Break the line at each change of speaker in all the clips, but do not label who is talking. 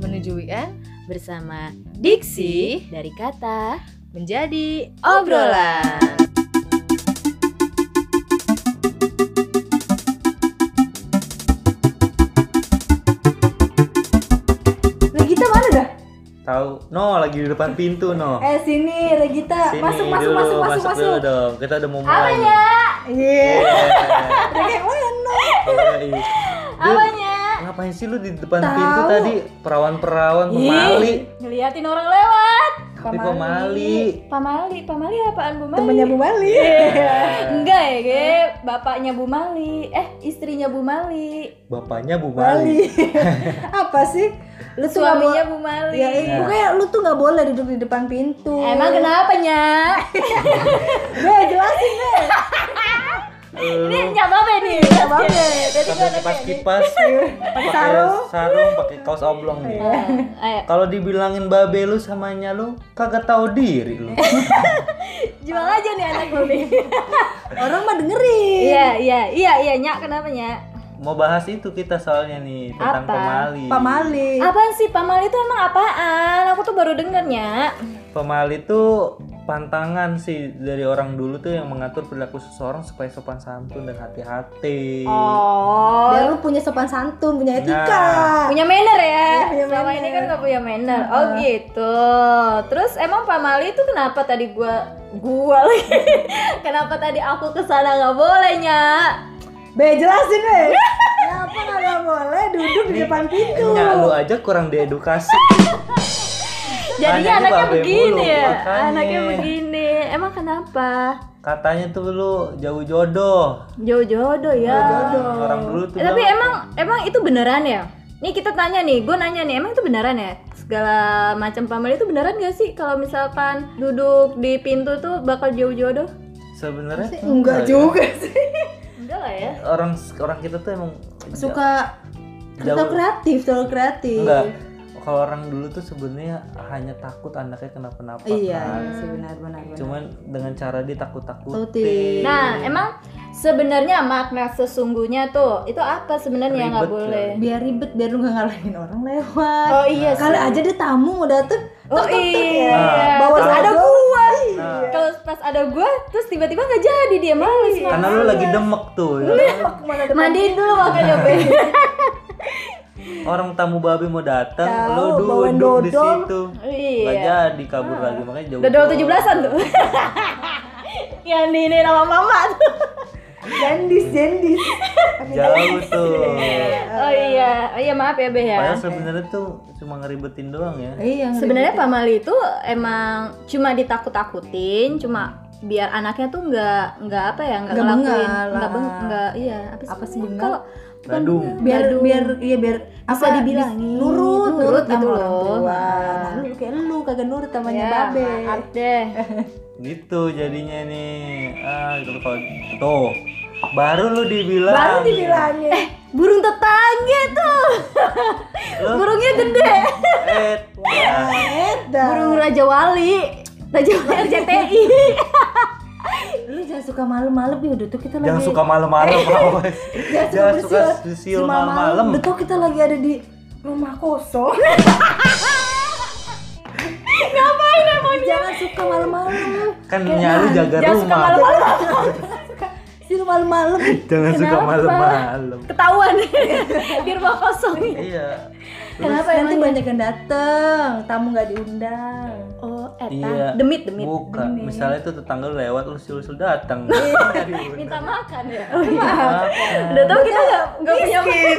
menuju weekend
bersama Diksi dari kata
menjadi
obrolan.
Regita mana dah?
Tahu, no lagi di depan pintu no.
Eh sini Regita,
Sini
Eh, masuk masuk
dulu,
masuk masuk masuk. ya?
dulu dong. Kita udah mau mulai. nih.
Iya.
Yeah.
Udah kayak Woyono.
Yoi. Lu
Apanya?
Ngapain sih lu di depan
Tahu.
pintu tadi? Perawan-perawan,
Ih.
pemali.
Ngeliatin orang lewat.
Tapi pemali.
Pamali, Pamali apaan Bu Mali?
Temennya Bu Mali.
Enggak ya, Ge. Bapaknya Bu Mali. Eh, istrinya Bu Mali.
Bapaknya Bu
Mali.
Mali.
Apa sih? Lu tuh nggak
Suaminya Iya, Bu Mali.
Ya, eh, pokoknya lu tuh nggak boleh duduk di depan pintu.
Emang kenapa, Nya?
Gue jelasin deh.
Ini nggak apa-apa nih.
Nggak apa-apa. Tadi
Sampai kipas-kipas. Pakai
gitu. sarung. Iya.
sarung, pakai kaos oblong nih.
Eh, Ayo,
Kalau dibilangin babe lu samanya lu kagak tahu diri lu.
jual aja nih anak gue.
orang mah dengerin.
Iya, iya, iya, iya, Nya, kenapa, Nya?
Mau bahas itu kita soalnya nih tentang
Apa?
pemali.
Pamali.
Apaan sih Pamali itu emang apaan? Aku tuh baru dengernya.
Pemali itu pantangan sih dari orang dulu tuh yang mengatur perilaku seseorang supaya sopan santun dan hati-hati.
Oh.
Biar lu punya sopan santun, punya
Nah.
etika.
Punya manner ya.
Iya, punya
Selama
manner.
ini kan gak punya manner. Oh gitu. Terus emang Pamali itu kenapa tadi gua gua lagi? kenapa tadi aku kesana nggak bolehnya?
Be jelasin be. Kenapa nggak boleh duduk di depan
gitu.
pintu?
Nyak lu aja kurang diedukasi.
Jadinya
Anaknya
anaknya
babe
begini
mulu,
ya.
makanya.
Anaknya begini. Emang kenapa?
Katanya tuh lu jauh jodoh.
Jauh jodoh ya.
Orang dulu tuh
Eh, tapi
bilang,
emang emang itu beneran ya? Nih kita tanya nih, gue nanya nih, emang itu beneran ya? Segala macam pamali itu beneran gak sih? Kalau misalkan duduk di pintu tuh bakal jauh jodoh?
sebenarnya
Enggak
ya.
juga sih.
Enggak lah ya.
Orang orang kita tuh emang
Suka
Jauh.
terlalu kreatif, terlalu kreatif.
enggak. Kalau orang dulu tuh sebenarnya hanya takut anaknya kenapa-napa.
Iya,
kan.
iya sih benar-benar.
Cuman dengan cara
Takutin.
ditakut-takutin.
Nah, emang sebenarnya makna sesungguhnya tuh itu apa sebenarnya yang nggak
Ribet,
boleh?
biar ribet biar lu gak ngalahin orang lewat
Oh iya sih.
kali aja deh tamu mau dateng
Oh
ya.
iya.
Nah,
bawa
Terus ada
sodok.
gua.
Iya.
Nah.
Kalau pas ada gua, terus tiba-tiba nggak jadi dia males.
Iya.
Karena lu lagi
Iya.
demek tuh. ya kan?
Kemana depan?
Mandiin dulu makanya be.
orang tamu babi mau datang
Tahu,
lu
bawain
duduk di
dodol.
situ nggak
Iya.
jadi kabur lagi makanya jauh
Dodol 17-an tuh. yang di ini nama mama tuh.
jendis jendis
jauh tuh
Oh iya, oh, iya maaf ya Beh ya.
padahal sebenarnya tuh cuma ngeribetin doang ya
iya
Sebenarnya pamali itu emang cuma ditakut-takutin, cuma biar anaknya tuh nggak nggak apa ya nggak
Nggak
ngelakuin
bengal
nggak beng
lah.
nggak iya apa sih
Apa sih
namanya?
bengal?
kalau bukan
Badung.
bengal,
biar
badung.
biar iya biar
Bisa dibilangin.
dis- nurut
Nurut gitu
sama orang
loh.
tua.
Nah.
nah, Iya, lu kayak lu kagak nurut
ya,
tamanya babe
maaf deh
gitu jadinya nih ah gitu loh, kalau tuh baru lu dibilang
baru dibilangin
burung tetangga tuh
Lu-
burungnya gede
eh nah,
eh dah.
burung raja wali raja wali
eh,
RCTI
lu jangan suka malam-malam ya udah tuh kita
jangan
lagi
suka malam-malam awas jangan suka
bersiul-
siul
si
malam-malam
udah tuh kita lagi ada di rumah kosong
ngapain emang
jangan suka malam-malam
kan nyalu jaga
jangan suka
rumah
malam-malam
si lu malam-malam
jangan suka
Kenapa?
malam-malam
ketahuan di rumah kosong
iya
Kenapa ya? nanti banyak yang dateng, tamu nggak diundang.
oh
Iya.
eta demit demit
Bukan, misalnya tuh tetangga lu lewat lu sul-sul datang. Minta
minta makan ya
maaf.
udah tau kita nggak nggak punya makan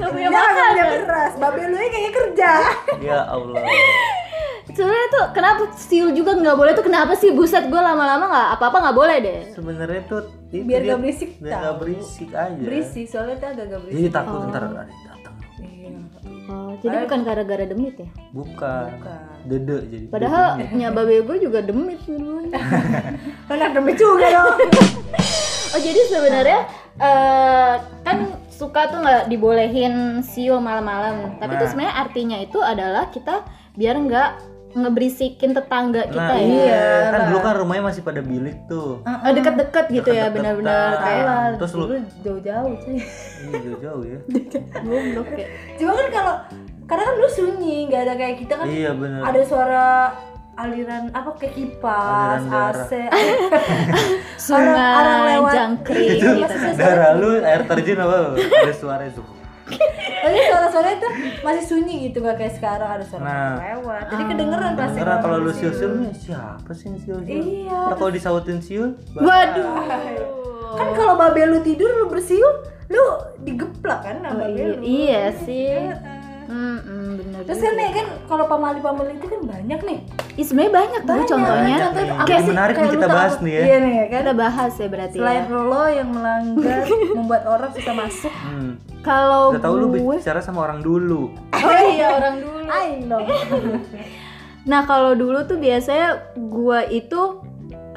nggak punya makan
Jangan keras, babe lu ini kayaknya kerja.
Ya Allah.
sebenarnya tuh kenapa siul juga nggak boleh tuh kenapa sih buset gue lama-lama nggak apa-apa nggak boleh deh
Sebenarnya tuh itu
Biar
dia-
nggak berisik,
biar
tau.
nggak berisik aja.
Berisik, soalnya tuh agak-agak
Jadi
berisik.
takut ntar ada yang datang.
oh, jadi bukan gara-gara demit ya
Bukan.
Bukan.
Dede jadi.
padahal nyaba gue juga demit dulunya
Anak demi juga dong.
oh jadi sebenarnya eh, kan suka tuh nggak dibolehin siul malam-malam tapi tuh
Nah.
sebenarnya artinya itu adalah kita biar nggak ngeberisikin tetangga kita
Nah,
ya
iya. Kan dulu kan rumahnya masih pada bilik tuh.
Oh, deket-deket gitu ya
Deket-deketan.
benar-benar kayak
terus lu
jauh-jauh cuy.
Ih, jauh-jauh ya.
goblok ya
Cuma kan kalau Karena kan dulu sunyi, nggak ada kayak kita kan
iya bener
ada suara aliran apa kayak kipas,
Aliran darah.
AC, orang
Sungai
lewat. Iya,
jangkrik
Itu-
gitu kan.
darah lu air terjun apa ada suara itu
tapi suara-suara itu masih sunyi gitu nggak kayak sekarang ada suara
Nah.
lewat. Jadi kedengeran pasti.
Karena kalau lu
siul.
siul-siul nih, siapa sih yang siul-siul?
Iya,
Nah, kalau disautin siul,
Waduh.
Kan
Oh.
kalau babe lu tidur lu bersiul, lu digeplak kan
Oh,
sama babe
iya,
lu.
iya sih.
Heeh.
Mm-mm, bener
Terus
juga.
kan nih kan kalau pamali-pamali itu kan banyak nih.
Ih, sebenarnya banyak tuh contohnya.
Banyak.
Contohnya
nih.
apa
Ini
sih?
menarik nih
Kayak lu
kita
tau
bahas
apa?
nih ya.
Iya nih kan.
Kita bahas ya berarti.
Selain
ya.
lo yang melanggar membuat orang susah masuk.
hmm.
Kalau
Udah tahu lu
gue,
bicara sama orang dulu.
oh iya orang dulu.
I love.
Nah kalau dulu tuh biasanya gua itu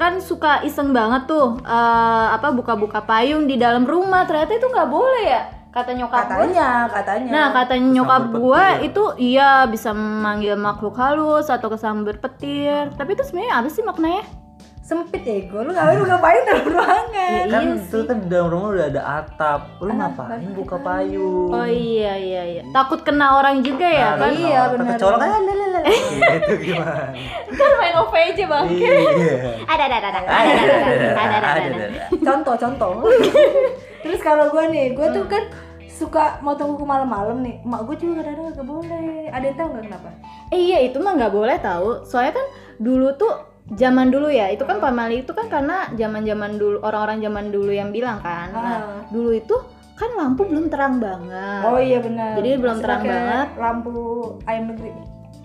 kan suka iseng banget tuh eh, apa buka-buka payung di dalam rumah ternyata itu nggak boleh ya kata nyokap gua.
Katanya, katanya.
Nah kata
Kesambar
nyokap gua
petir.
itu iya bisa manggil makhluk halus atau kesambar petir tapi itu sebenarnya apa sih maknanya?
sempit ya gue lu ngapain lu ngapain dalam ruangan
kan
iya
itu kan di dalam rumah udah ada atap. Lu ngapain buka payung?
Oh iya iya iya takut kena orang juga ya kan?
iya benar. Kecolok kan
iya.
gitu gimana?
Kan main OVJ bang.
Iya.
Ada ada ada ada ada ada ada ada ada ada.
contoh contoh terus kalau gue nih gue
Hmm.
tuh kan suka mau tunggu malam-malam nih emak gue juga kadang-kadang gak boleh ada yang tahu nggak kenapa
Eh iya itu mah nggak boleh tahu. Soalnya kan dulu tuh zaman dulu ya itu kan pamali itu kan karena zaman zaman dulu orang-orang zaman dulu yang bilang kan. Nah,
Ah.
dulu itu kan lampu belum terang banget.
oh iya benar
Jadi belum
Masih
terang
pakai
banget.
lampu ayam negeri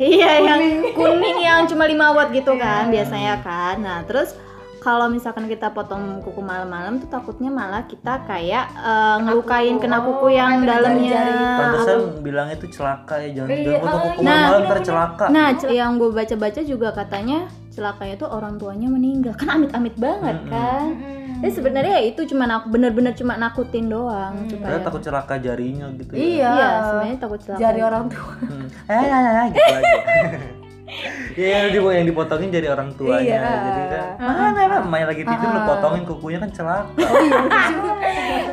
Iya yang kuning yang cuma 5 watt gitu kan biasanya kan. Nah terus kalau misalkan kita potong kuku malam-malam tuh takutnya malah kita kayak eh, ngelukain kena kuku
Oh,
yang
kena
dalamnya.
jari-jari.
Pantesan bilang itu celaka ya, jangan
Iya,
jangan potong
ah,
kuku
Nah, iya,
malam
bener,
ntar
bener.
celaka.
Nah, cel- yang gue baca-baca juga katanya celakanya tuh orang tuanya meninggal. Kan amit-amit banget
Mm-mm.
kan. Jadi sebenarnya ya itu cuma nak bener-bener cuma nakutin doang
Hmm.
supaya
Karena takut celaka jarinya gitu ya.
iya,
Iya, sebenarnya takut celaka.
jari orang tua
Hmm. Eh, nah, nah, nah, gitu aja. Iya, yang dipo- yang dipotongin jadi orang tuanya.
Iya.
Jadi kan, mana lah, main lagi tidur lu potongin kukunya kan celaka.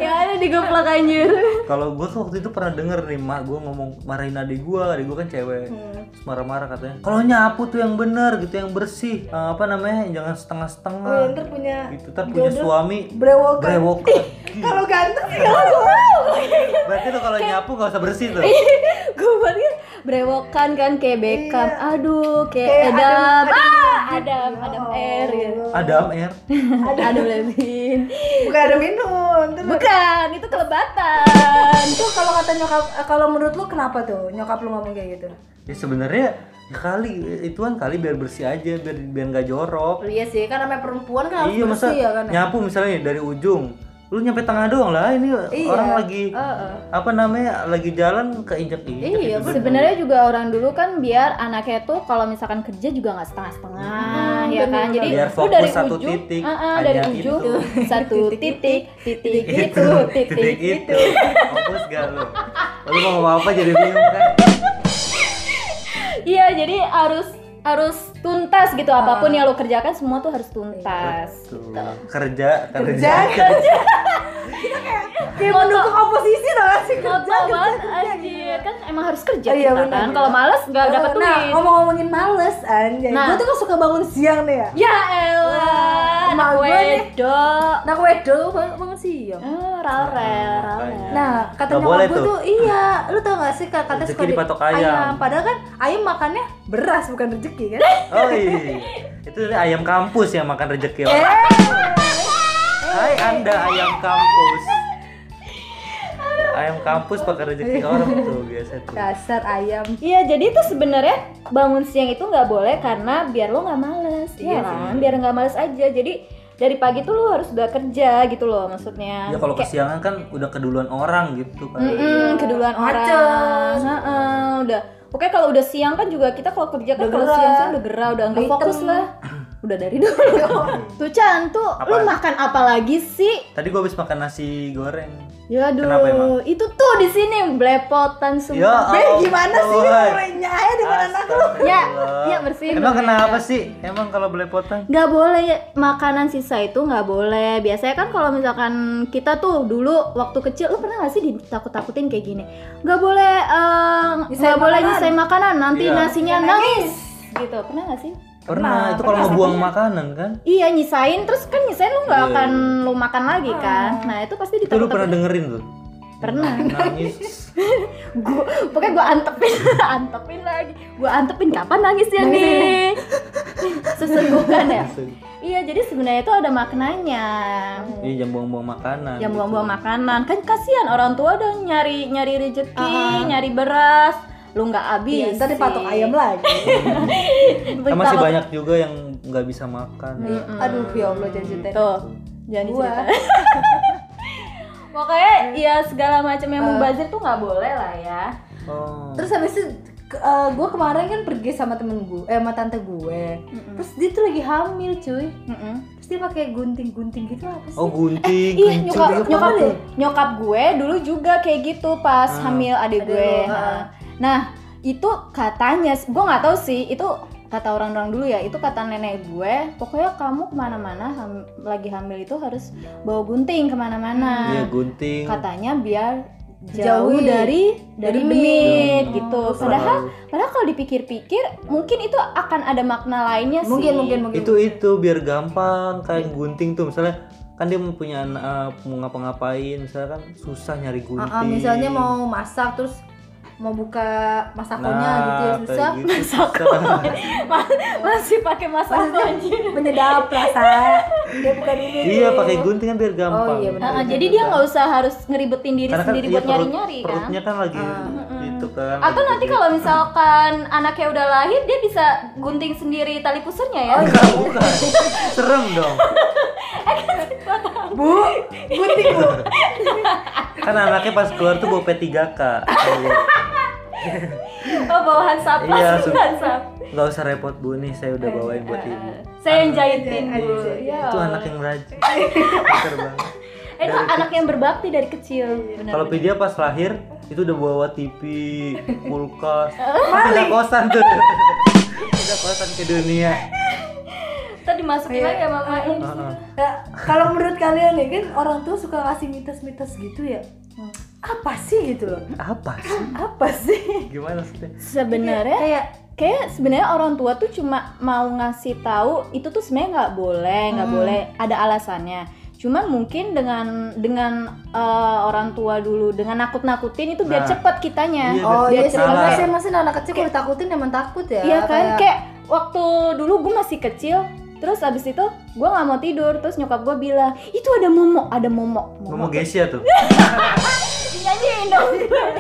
yang ada digeplak anjir.
Kalau gue tuh waktu itu pernah denger nih mak gue ngomong marahin adik gue, adik gue kan cewek. Terus marah-marah katanya, kalau nyapu tuh yang bener gitu, yang bersih. Eh, apa namanya? Jangan setengah-setengah.
Gue ntar punya
gitu, ntar punya suami
brewokan
brewokan.
kalau ganteng sih kalau gue
Berarti tuh kalau nyapu gak usah bersih tuh.
Iya. gue banget brewokan kan kayak Beckham. Aduh, kayak
Iya. Kayak
Adam.
Adam-
Ah, Adam, Adam Air
Oh.
gitu.
Adam R.
Adam Levine.
bukan ada minum terus
Bukan, itu kelebatan.
itu kalau kata nyokap eh, kalau menurut lu kenapa tuh nyokap lu ngomong kayak gitu
Ya sebenarnya ya kali ituan kali biar bersih aja, biar biar nggak jorok.
Iya sih, kan namanya perempuan kan harus
iya masa
bersih ya kan.
nyapu misalnya dari ujung lu nyampe tengah doang lah ini
Iya,
orang lagi apa namanya lagi jalan gitu. keinjak injak
Iya, sebenarnya juga orang dulu kan biar anaknya tuh kalau misalkan kerja juga nggak setengah-setengah,
Hmm,
ya kan? Jadi
Biar
lu dari
fokus satu
ujung,
titik,
ah, ah, dari
hanya
ujung
itu. Iya.
satu titik, titik
gitu,
itu, titik
Gitu, titik itu fokus gak lu lu mau ngomong apa jadi bingung kan
Iya, jadi harus harus tuntas gitu
Ah.
apapun yang lo kerjakan semua tuh harus tuntas.
Tuh, kerja kerja,
Kerja, Kayak mendukung oposisi tau gak sih kerja,
Kerja
kerja,
banget
kerja, gitu.
anjir, kan emang harus kerja
Oh, iya,
kita
benar,
kan.
iya.
Kalau males nggak dapat
Eh, Nah,
duit.
ngomong-ngomongin males anjay.
Nah.
Gue tuh kan suka bangun siang nih ya.
Ya elah,
Wah, emak
anak
gue nih.
wedok.
Nah, wedo bangun bangun siang.
Ah, Rarel, rarel.
Makanya.
Ya. Nah, kata
Nggak boleh
nyokap gue
tuh.
tuh iya, lu tau gak sih kata
Rezeki
suka di-
dipatok ayam.
Padahal kan ayam makannya beras bukan rezeki kan.
oh iya itu ayam kampus yang makan rejeki orang
Eh.
Hai anda ayam kampus ayam kampus pakai rejeki orang tuh biasa tuh
Dasar ayam.
Iya, jadi itu sebenarnya bangun siang itu nggak boleh karena biar lo nggak males, iya kan? Biar nggak males aja. Jadi dari pagi tuh lo harus udah kerja gitu loh maksudnya.
Ya kalau
Kayak,
kesiangan kan udah keduluan orang gitu kan.
"Mm-mm, keduluan orang.
Macet.
Heeh, udah. Oke kalau udah siang kan juga kita kalau kerja kan
Udah
kalau
gerah.
siang-siang udah gerah, udah nggak
Udah
fokus
hitam.
lah. udah dari dulu tuh Chan tuh
Apaan?
lu makan apa lagi sih
Tadi gua habis makan nasi goreng.
ya
Kenapa emang? Iya.
aduh itu tuh di sini
Ya
belepotan semua
Be, gimana sih lu mulainya aja dengan anak lu?
Ya, ya, bersihin ya.
Emang
dong,
kenapa sih? Emang kalau belepotan?
nggak boleh makanan sisa itu nggak boleh biasanya kan kalau misalkan kita tuh dulu waktu kecil lu pernah nggak sih ditakut-takutin kayak gini nggak boleh eh, nggak
Nyisain
boleh
makanan.
nyisain makanan nanti
Iya.
nasinya
Nangis.
nangis gitu pernah nggak sih
Pernah, itu kalau
pernah.
ngebuang makanan kan?
iya nyisain terus kan nyisain lu nggak
Iya.
akan lu makan lagi
Ah.
kan nah itu pasti
Itu lu pernah
ditakut-takutin
dengerin tuh?
Pernah.
Nangis.
gua pokoknya gua antepin antepin lagi gua antepin kapan nangisnya nih sesenggukan ya
Gitu.
iya jadi sebenarnya itu ada maknanya
Nah,
Iya, jangan buang-buang makanan.
yang
gitu.
buang-buang makanan kan kasihan orang tua udah nyari nyari rezeki
Ah.
nyari beras lu nggak
Iya,
habis
ntar dipatok ayam lagi.
Kan masih banyak juga yang nggak bisa makan.
Iya.
Aduh, ya Allah jangan ceritain.
tuh jangan
Gua.
diceritain pokoknya ya segala macam
Eh.
yang mubazir tuh nggak boleh lah ya
Oh.
Terus habis itu gue kemarin kan pergi sama temen gue, eh sama tante gue. Terus dia tuh lagi hamil, cuy.
Mm-mm.
Terus dia pakai gunting-gunting gitu apa sih?
Oh gunting, kencing.
Iya nyokap
juga
nyokap
pernah deh.
nyokap gue dulu juga kayak gitu pas
Ah.
hamil
Adik
adik gue.
lu, ah.
Nah itu katanya gue nggak tahu sih itu kata orang-orang dulu ya itu kata nenek gue pokoknya kamu kemana-mana ham- lagi hamil itu harus bawa gunting
Iya
kemana-mana
gunting.
katanya biar jauh
Jauhi.
dari
Dari
dari demit
demit.
Oh,
gitu padahal padahal kalau dipikir-pikir mungkin itu akan ada makna lainnya sih
Mungkin, mungkin, mungkin.
itu itu biar gampang kayak gunting tuh misalnya kan dia mau punya anak, eh, mau ngapa-ngapain misalnya kan susah nyari gunting.
Ah, ah, misalnya mau masak terus mau buka masakannya
Nah,
gitu ya
kayak
susah.
gitu, susah.
masih pakai masalah
Maksudnya menyedap rasa. Dia bukan ini.
iya pakai gunting kan biar gampang.
iya, benar.
Nah, jadi dia nggak usah harus ngeribetin diri
Karena kan
sendiri
iya,
buat
perut-
nyari-nyari kan.
Perutnya kan lagi
Ah,
gitu kan.
Atau
lagi
nanti
gede.
kalau misalkan anaknya udah lahir dia bisa gunting sendiri tali pusarnya ya.
Enggak, bukan. Serem dong.
Bu, gunting Bu.
Kan anaknya pas keluar tuh bawa P3K.
Oh, bawahan sap
Iya,
lah,
langsung.
bawahan sap.
Gak usah repot Bu nih, saya udah bawain buat Ibu.
Eh, Saya yang jahitin
Anak-
dulu.
anak-
Ya.
Itu anak yang rajin. Pinter banget.
Eh, itu anak yang berbakti dari kecil. Benar.
Iya. Kalau dia pas lahir itu udah bawa TV, kulkas, pindah kosan tuh. pindah kosan ke dunia.
Tadi dimasukin
Iya.
lagi sama mamanya.
Heeh.
Nah, kalau menurut kalian nih kan orang tuh suka ngasih mitos-mitos gitu ya.
Hmm.
Apa sih gitu loh?
Apa sih?
Apa sih?
Gimana sih?
Sebenarnya
Kayak
Iya, kayak sebenarnya orang tua tuh cuma mau ngasih tahu itu tuh sebenarnya nggak boleh nggak
Hmm.
boleh ada alasannya cuman mungkin dengan dengan eh, orang tua dulu dengan nakut nakutin itu biar
Nah.
cepet kitanya
Iya,
Oh
Biar
iya
cepet salah.
sih, masih anak kecil kalau ditakutin emang takut ya.
iya kan kayak... waktu dulu gue masih kecil terus abis itu gue nggak mau tidur terus nyokap gue bilang itu ada momok ada momok
Ngomong Gesia tuh.
Iya, nyanyiin dong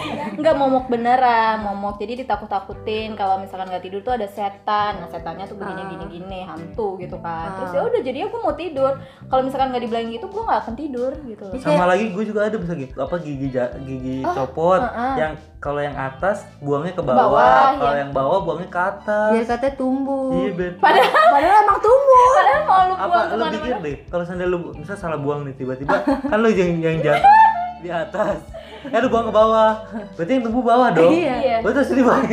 nggak momok beneran momok jadi ditakut takutin kalau misalkan nggak tidur tuh ada setan nah setannya tuh
Ah.
begini gini gini hantu gitu kan
Ah.
terus ya udah jadinya gue mau tidur kalau misalkan nggak dibilangin gitu gue nggak akan tidur gitu loh
Sama lagi gue juga ada bisa gitu apa gigi ja- gigi copot
Oh, heeh.
yang kalau yang atas buangnya ke bawah,
bawah,
kalau
iya.
yang bawah buangnya ke atas.
biar katanya tumbuh.
Iya, bet.
Padahal emang tumbuh.
padahal mau lu
apa
buang
lu
kemana
pikir
mana
deh kalau sandal lu misal salah buang nih tiba-tiba kan lu yang yang jatuh di atas eh lu buang ke bawah berarti yang tumbuh bawah dong
Iya.
iya
berarti harus banyak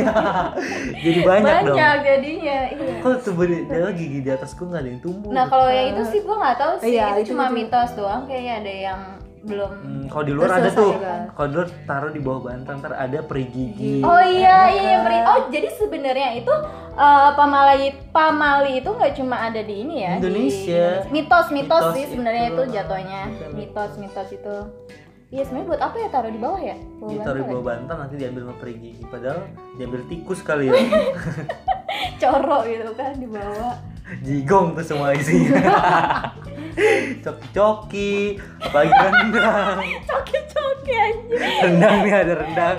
jadi banyak,
banyak,
dong
jadinya iya
kok tumbuh di, dia gigi di atas gua nggak ada yang tumbuh
nah kalau yang itu sih gue nggak tahu sih
Iya,
itu
itu-
cuma
itu.
mitos doang kayaknya ada yang belum
Hmm, kalau di luar
Terus
ada
selesai
tuh
kan?
kalau di luar taruh di bawah bantal ntar ada peri gigi
Gigi.
Oh iya
kan?
iya
Enak.
beri- Oh jadi sebenarnya itu eh, pamali pamali itu nggak cuma ada di ini ya di
Indonesia.
Mitos mitos
Mitos
sih sebenarnya
itu.
itu jatuhnya
Bukan
mitos mitos itu. Iya sebenarnya buat apa ya taruh di bawah ya? Bawa
Jadi Iya, taruh di
bantal ya?
bawah bantal nanti diambil sama peri gigi padahal diambil tikus kali ya
Corok gitu kan di bawah.
jigong tuh semua isinya coki-coki apalagi rendang
Coki coki aja.
rendang nih ada rendang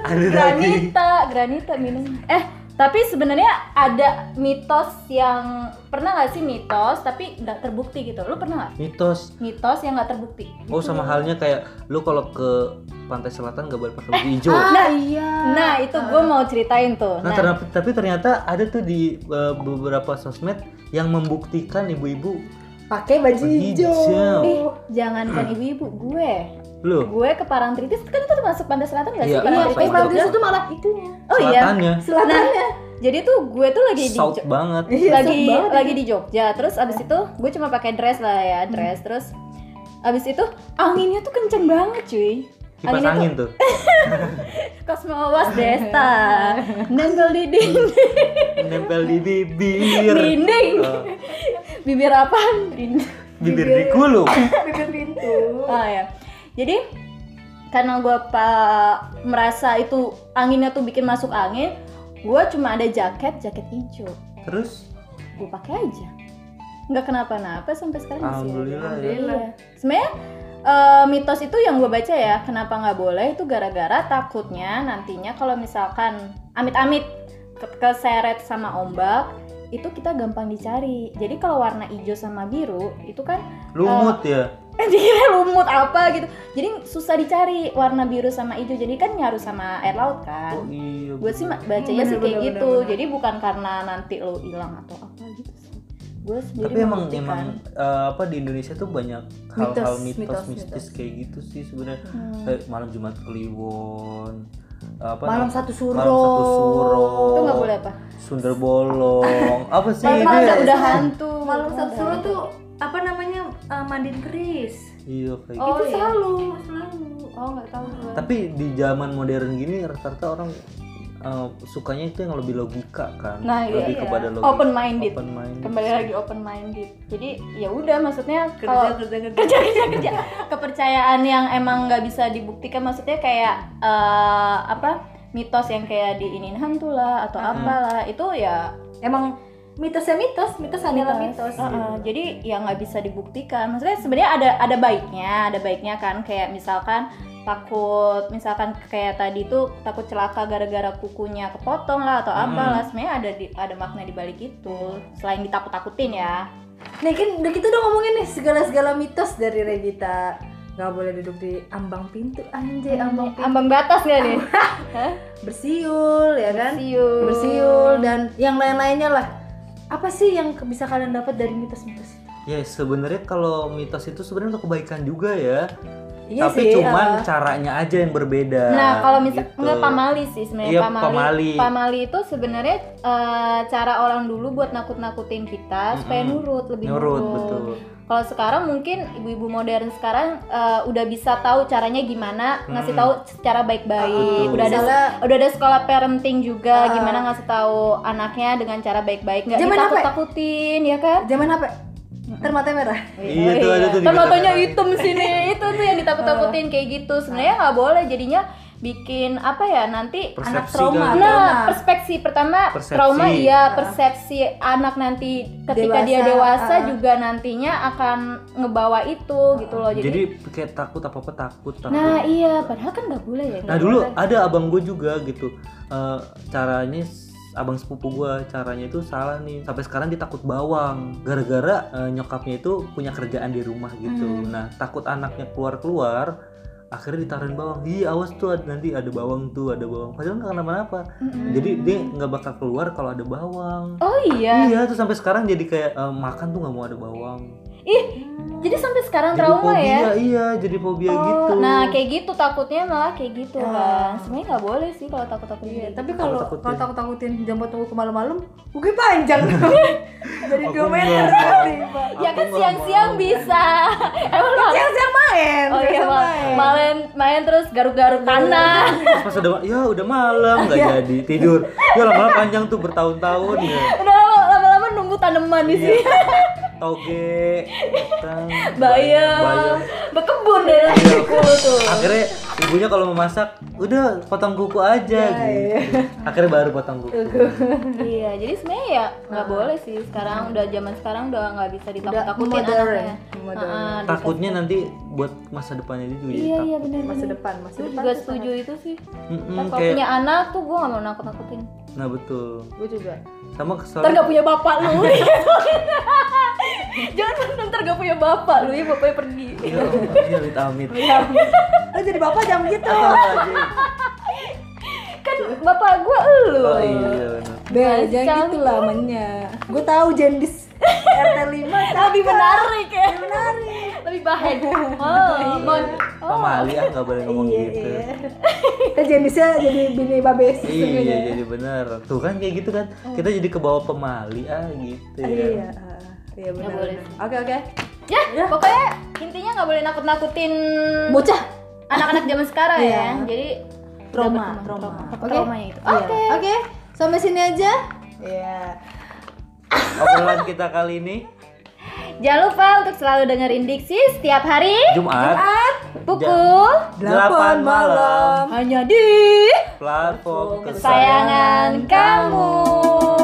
ada daging
Granita granita minum. Eh tapi sebenarnya ada mitos yang pernah nggak sih mitos tapi nggak terbukti gitu. Lu pernah nggak?
mitos
Mitos yang nggak terbukti.
oh sama halnya kayak lu kalau ke pantai selatan gak boleh pakai baju hijau.
Nah,
iya.
Nah, itu gue mau ceritain tuh.
Ah. Nah,
Nah,
ternyata- tapi ternyata ada tuh di uh, beberapa sosmed yang membuktikan ibu-ibu
Pakai baju hijau.
hijau. Iya,
jangankan ibu-ibu, gue.
Loh,
Gue ke Parangtritis kan itu termasuk pantai selatan gak sih?
Iya,
Iya, Pantai
tapi
Parangtritis
pantas
juga.
itu malah itunya.
Oh iya.
selatannya Nah.
Selatannya.
Jadi tuh gue tuh lagi di Iya,
south Iya, banget. ya. Iya.
lagi lagi di Jogja. Terus abis itu gue cuma pakai dress lah ya,
Hmm.
dress. Terus abis itu anginnya tuh kenceng banget, cuy.
Kipas
Anginnya
angin tuh.
Cosmowas Desta. Nempel di dinding.
Nempel di bibir.
dinding.
Eh,
Bibir apaan? Dinding.
bibir dikulung.
Dekat pintu.
Oh ya. Jadi karena gue pa- merasa itu anginnya tuh bikin masuk angin, gue cuma ada jaket jaket hijau,
Terus
gue pakai aja. Nggak kenapa-napa sampai sekarang masih. ada.
alhamdulillah ya.
Alhamdulillah.
Iya. Sebenarnya eh, mitos itu yang gue baca ya, kenapa nggak boleh itu gara-gara takutnya nantinya kalau misalkan amit-amit ke- keseret sama ombak itu kita gampang dicari. Jadi kalau warna hijau sama biru itu kan
Lumut
Iya.
ya.
dia lumut apa gitu jadi susah dicari warna biru sama hijau jadi kan nyaru sama air
Oh
laut kan
iya.
gue sih
bener.
ma- bacanya sih
Bener,
kayak
bener,
gitu
bener, bener.
jadi bukan karena nanti lo hilang atau apa gitu sih gue sendiri
tapi emang
membuktikan.
emang eh, apa di Indonesia tuh banyak hal-hal
Mitos,
mitos
mitos,
mistis
mitos.
kayak gitu sih sebenarnya
Hmm.
Kayak malam Jumat Kliwon apa
Malam
namanya?
satu suro.
malam satu suro
itu nggak boleh apa
sundel bolong apa sih ya?
malam
ini?
udah udah hantu
Malam
Udah
satu suruh
hantu.
tuh apa namanya eh, mandiin keris.
iya kayak
Oh,
itu
iya.
selalu selalu. Oh nggak tahu gue.
tapi di zaman modern gini rata-rata orang eh, sukanya itu yang lebih logika kan
Nah, iya,
lebih
iya.
kepada logika
open minded
open minded.
kembali lagi open minded jadi ya udah maksudnya
kerja
kalau
kerja kerja.
kerja kerja kerja kepercayaan yang emang nggak bisa dibuktikan maksudnya kayak eh, apa mitos yang kayak diinin hantu lah atau
Mm-mm.
apalah itu ya
Emang mitosnya mitos, mitos adalah mitos.
Eh, eh, jadi ya nggak bisa dibuktikan maksudnya sebenarnya ada ada baiknya ada baiknya kan kayak misalkan takut misalkan kayak tadi tuh takut celaka gara-gara kukunya kepotong lah atau
Mm-mm.
apalah sebenarnya ada di- ada makna di balik itu selain ditakut-takutin ya
Nih kan udah kita udah ngomongin nih segala-segala mitos dari Regita. Gak boleh duduk di ambang pintu anjay ambang pintu.
ambang batas nggak nih
Bersiul ya kan?
siul
Bersiul dan yang lain-lainnya lah. Apa sih yang ke- bisa kalian dapat dari mitos-mitos? itu?
ya sebenarnya kalau mitos itu sebenarnya untuk kebaikan juga ya
Iya
tapi
sih,
cuman
eh.
caranya aja yang berbeda
Nah, kalau misal
gitu.
enggak pamali sih sebenarnya
Iya,
pamali.
pamali.
Pamali itu sebenarnya eh, cara orang dulu buat nakut-nakutin kita supaya
Mm-mm.
nurut, lebih nurut.
Nurut, betul.
Kalau sekarang mungkin ibu-ibu modern sekarang eh, udah bisa tahu caranya gimana ngasih
Mm.
tahu secara baik-baik.
Betul.
udah ada
Misalnya,
udah ada sekolah parenting juga
Ah.
gimana ngasih tahu anaknya dengan cara baik-baik nggak
Zaman apa?
ditakut-takutin ya kan?
zaman apa? Termata merah.
Iya, itu
Oh,
ada tuh di
Kan
Kota
matanya
Medan.
hitam sini, itu tuh yang ditakut-takutin kayak gitu. Sebenarnya nggak boleh jadinya bikin apa ya nanti
Persepsi
anak trauma.
kan?
Nah,
Trauma.
persepsi pertama
Persepsi.
trauma iya, persepsi anak nanti ketika
Nah. Dewasa,
dia dewasa
ah.
juga nantinya akan ngebawa itu gitu loh. Jadi,
jadi kayak takut apa apa takut takut
nah iya, padahal kan nggak boleh ya.
Nah, dulu ada abang gue juga gitu Eh, caranya s- abang sepupu gue caranya itu salah nih sampai sekarang dia takut bawang gara-gara eh, nyokapnya itu punya kerjaan di rumah gitu
Hmm.
nah takut anaknya keluar keluar akhirnya ditaruhin bawang iya awas tuh ada- nanti ada bawang tuh ada bawang padahal nggak kenapa-napa
Hmm.
jadi dia nggak bakal keluar kalau ada bawang
Oh iya.
iya tuh sampai sekarang jadi kayak eh, makan tuh nggak mau ada bawang
Jadi sampai sekarang
jadi
trauma
fobia
ya.
iya jadi fobia
Oh,
gitu
Nah, kayak gitu takutnya malah kayak gitu
Ah.
kan. Sebenarnya nggak boleh sih kalau takut-takut
Iya,
gitu.
tapi kalau
Takut-takutin.
kalau takut takutin jam buat tunggu ke malam-malam, mungkin panjang. Jadi
Aku
dua meter
nggak mau.
kali, Pak.
Ya
Aku
kan
nggak
siang-siang
mau.
bisa. Emang lo-
Siang-siang main, Iya.
Oh iya,
siang-siang
Mal. main main terus garuk-garuk tanah.
Terus pas udah ya udah malam nggak
Iya.
jadi tidur ya lama-lama panjang tuh bertahun-tahun ya
Udah lama- lama-lama nunggu tanaman di
Iya.
sini.
toge batang,
Bayam.
bayam.
Berkebun deh
Iya.
lah di Bengkulu tuh.
akhirnya ibunya kalau mau masak udah potong kuku aja gitu akhirnya baru potong kuku
iya, jadi sebenarnya ya nggak boleh sih sekarang udah zaman sekarang udah nggak bisa ditakut-takutin
modern,
anaknya.
modern.
Heeh, di-
takutnya nanti buat masa depannya dia juga jadi
Iya iya
takut.
benar.
Masa depan, masa
Gue
depan.
juga setuju itu sih.
Mm-mm,
Kan kalau
Hmm, kayak
punya anak tuh gue nggak mau nakut-nakutin.
nah betul
Gue juga.
sama
Ntar
soalnya
nggak punya bapak lu. Jangan ntar nggak punya bapak lu, ya bapaknya Iya, pergi.
Iya, amit amit
Lu Lo jadi bapak jangan gitu.
kan bapak gua elu
oh iya benar.
Bel,
Baik,
jangan gitu lah mainnya. Gue tahu jendis RT 5
lebih menarik ya
menarik.
lebih bahan oh, mon
Mama Ali ah nggak boleh ngomong
Iya,
gitu.
iya. Kita jendisnya jadi bini babes
Iya,
sebenarnya.
jadi bener. Tuh kan kayak gitu kan. Kita jadi ke bawah pemali ah gitu
Ah,
ya.
Iya, ah, iya benar.
boleh.
Oke, oke.
ya Iya. pokoknya intinya nggak boleh nakut nakutin
Bocah.
anak-anak zaman sekarang
Iya.
ya jadi
Trauma,
dapat
trauma.
takut
Oke.
traumanya itu
Iya.
oke
Oke, sampai sini aja. Iya.
Obrolan kita kali ini
jangan lupa untuk selalu dengerin Diksi setiap hari
Jumat
pukul
Delapan malam.
hanya di
platform kesayangan.
kesayangan kamu.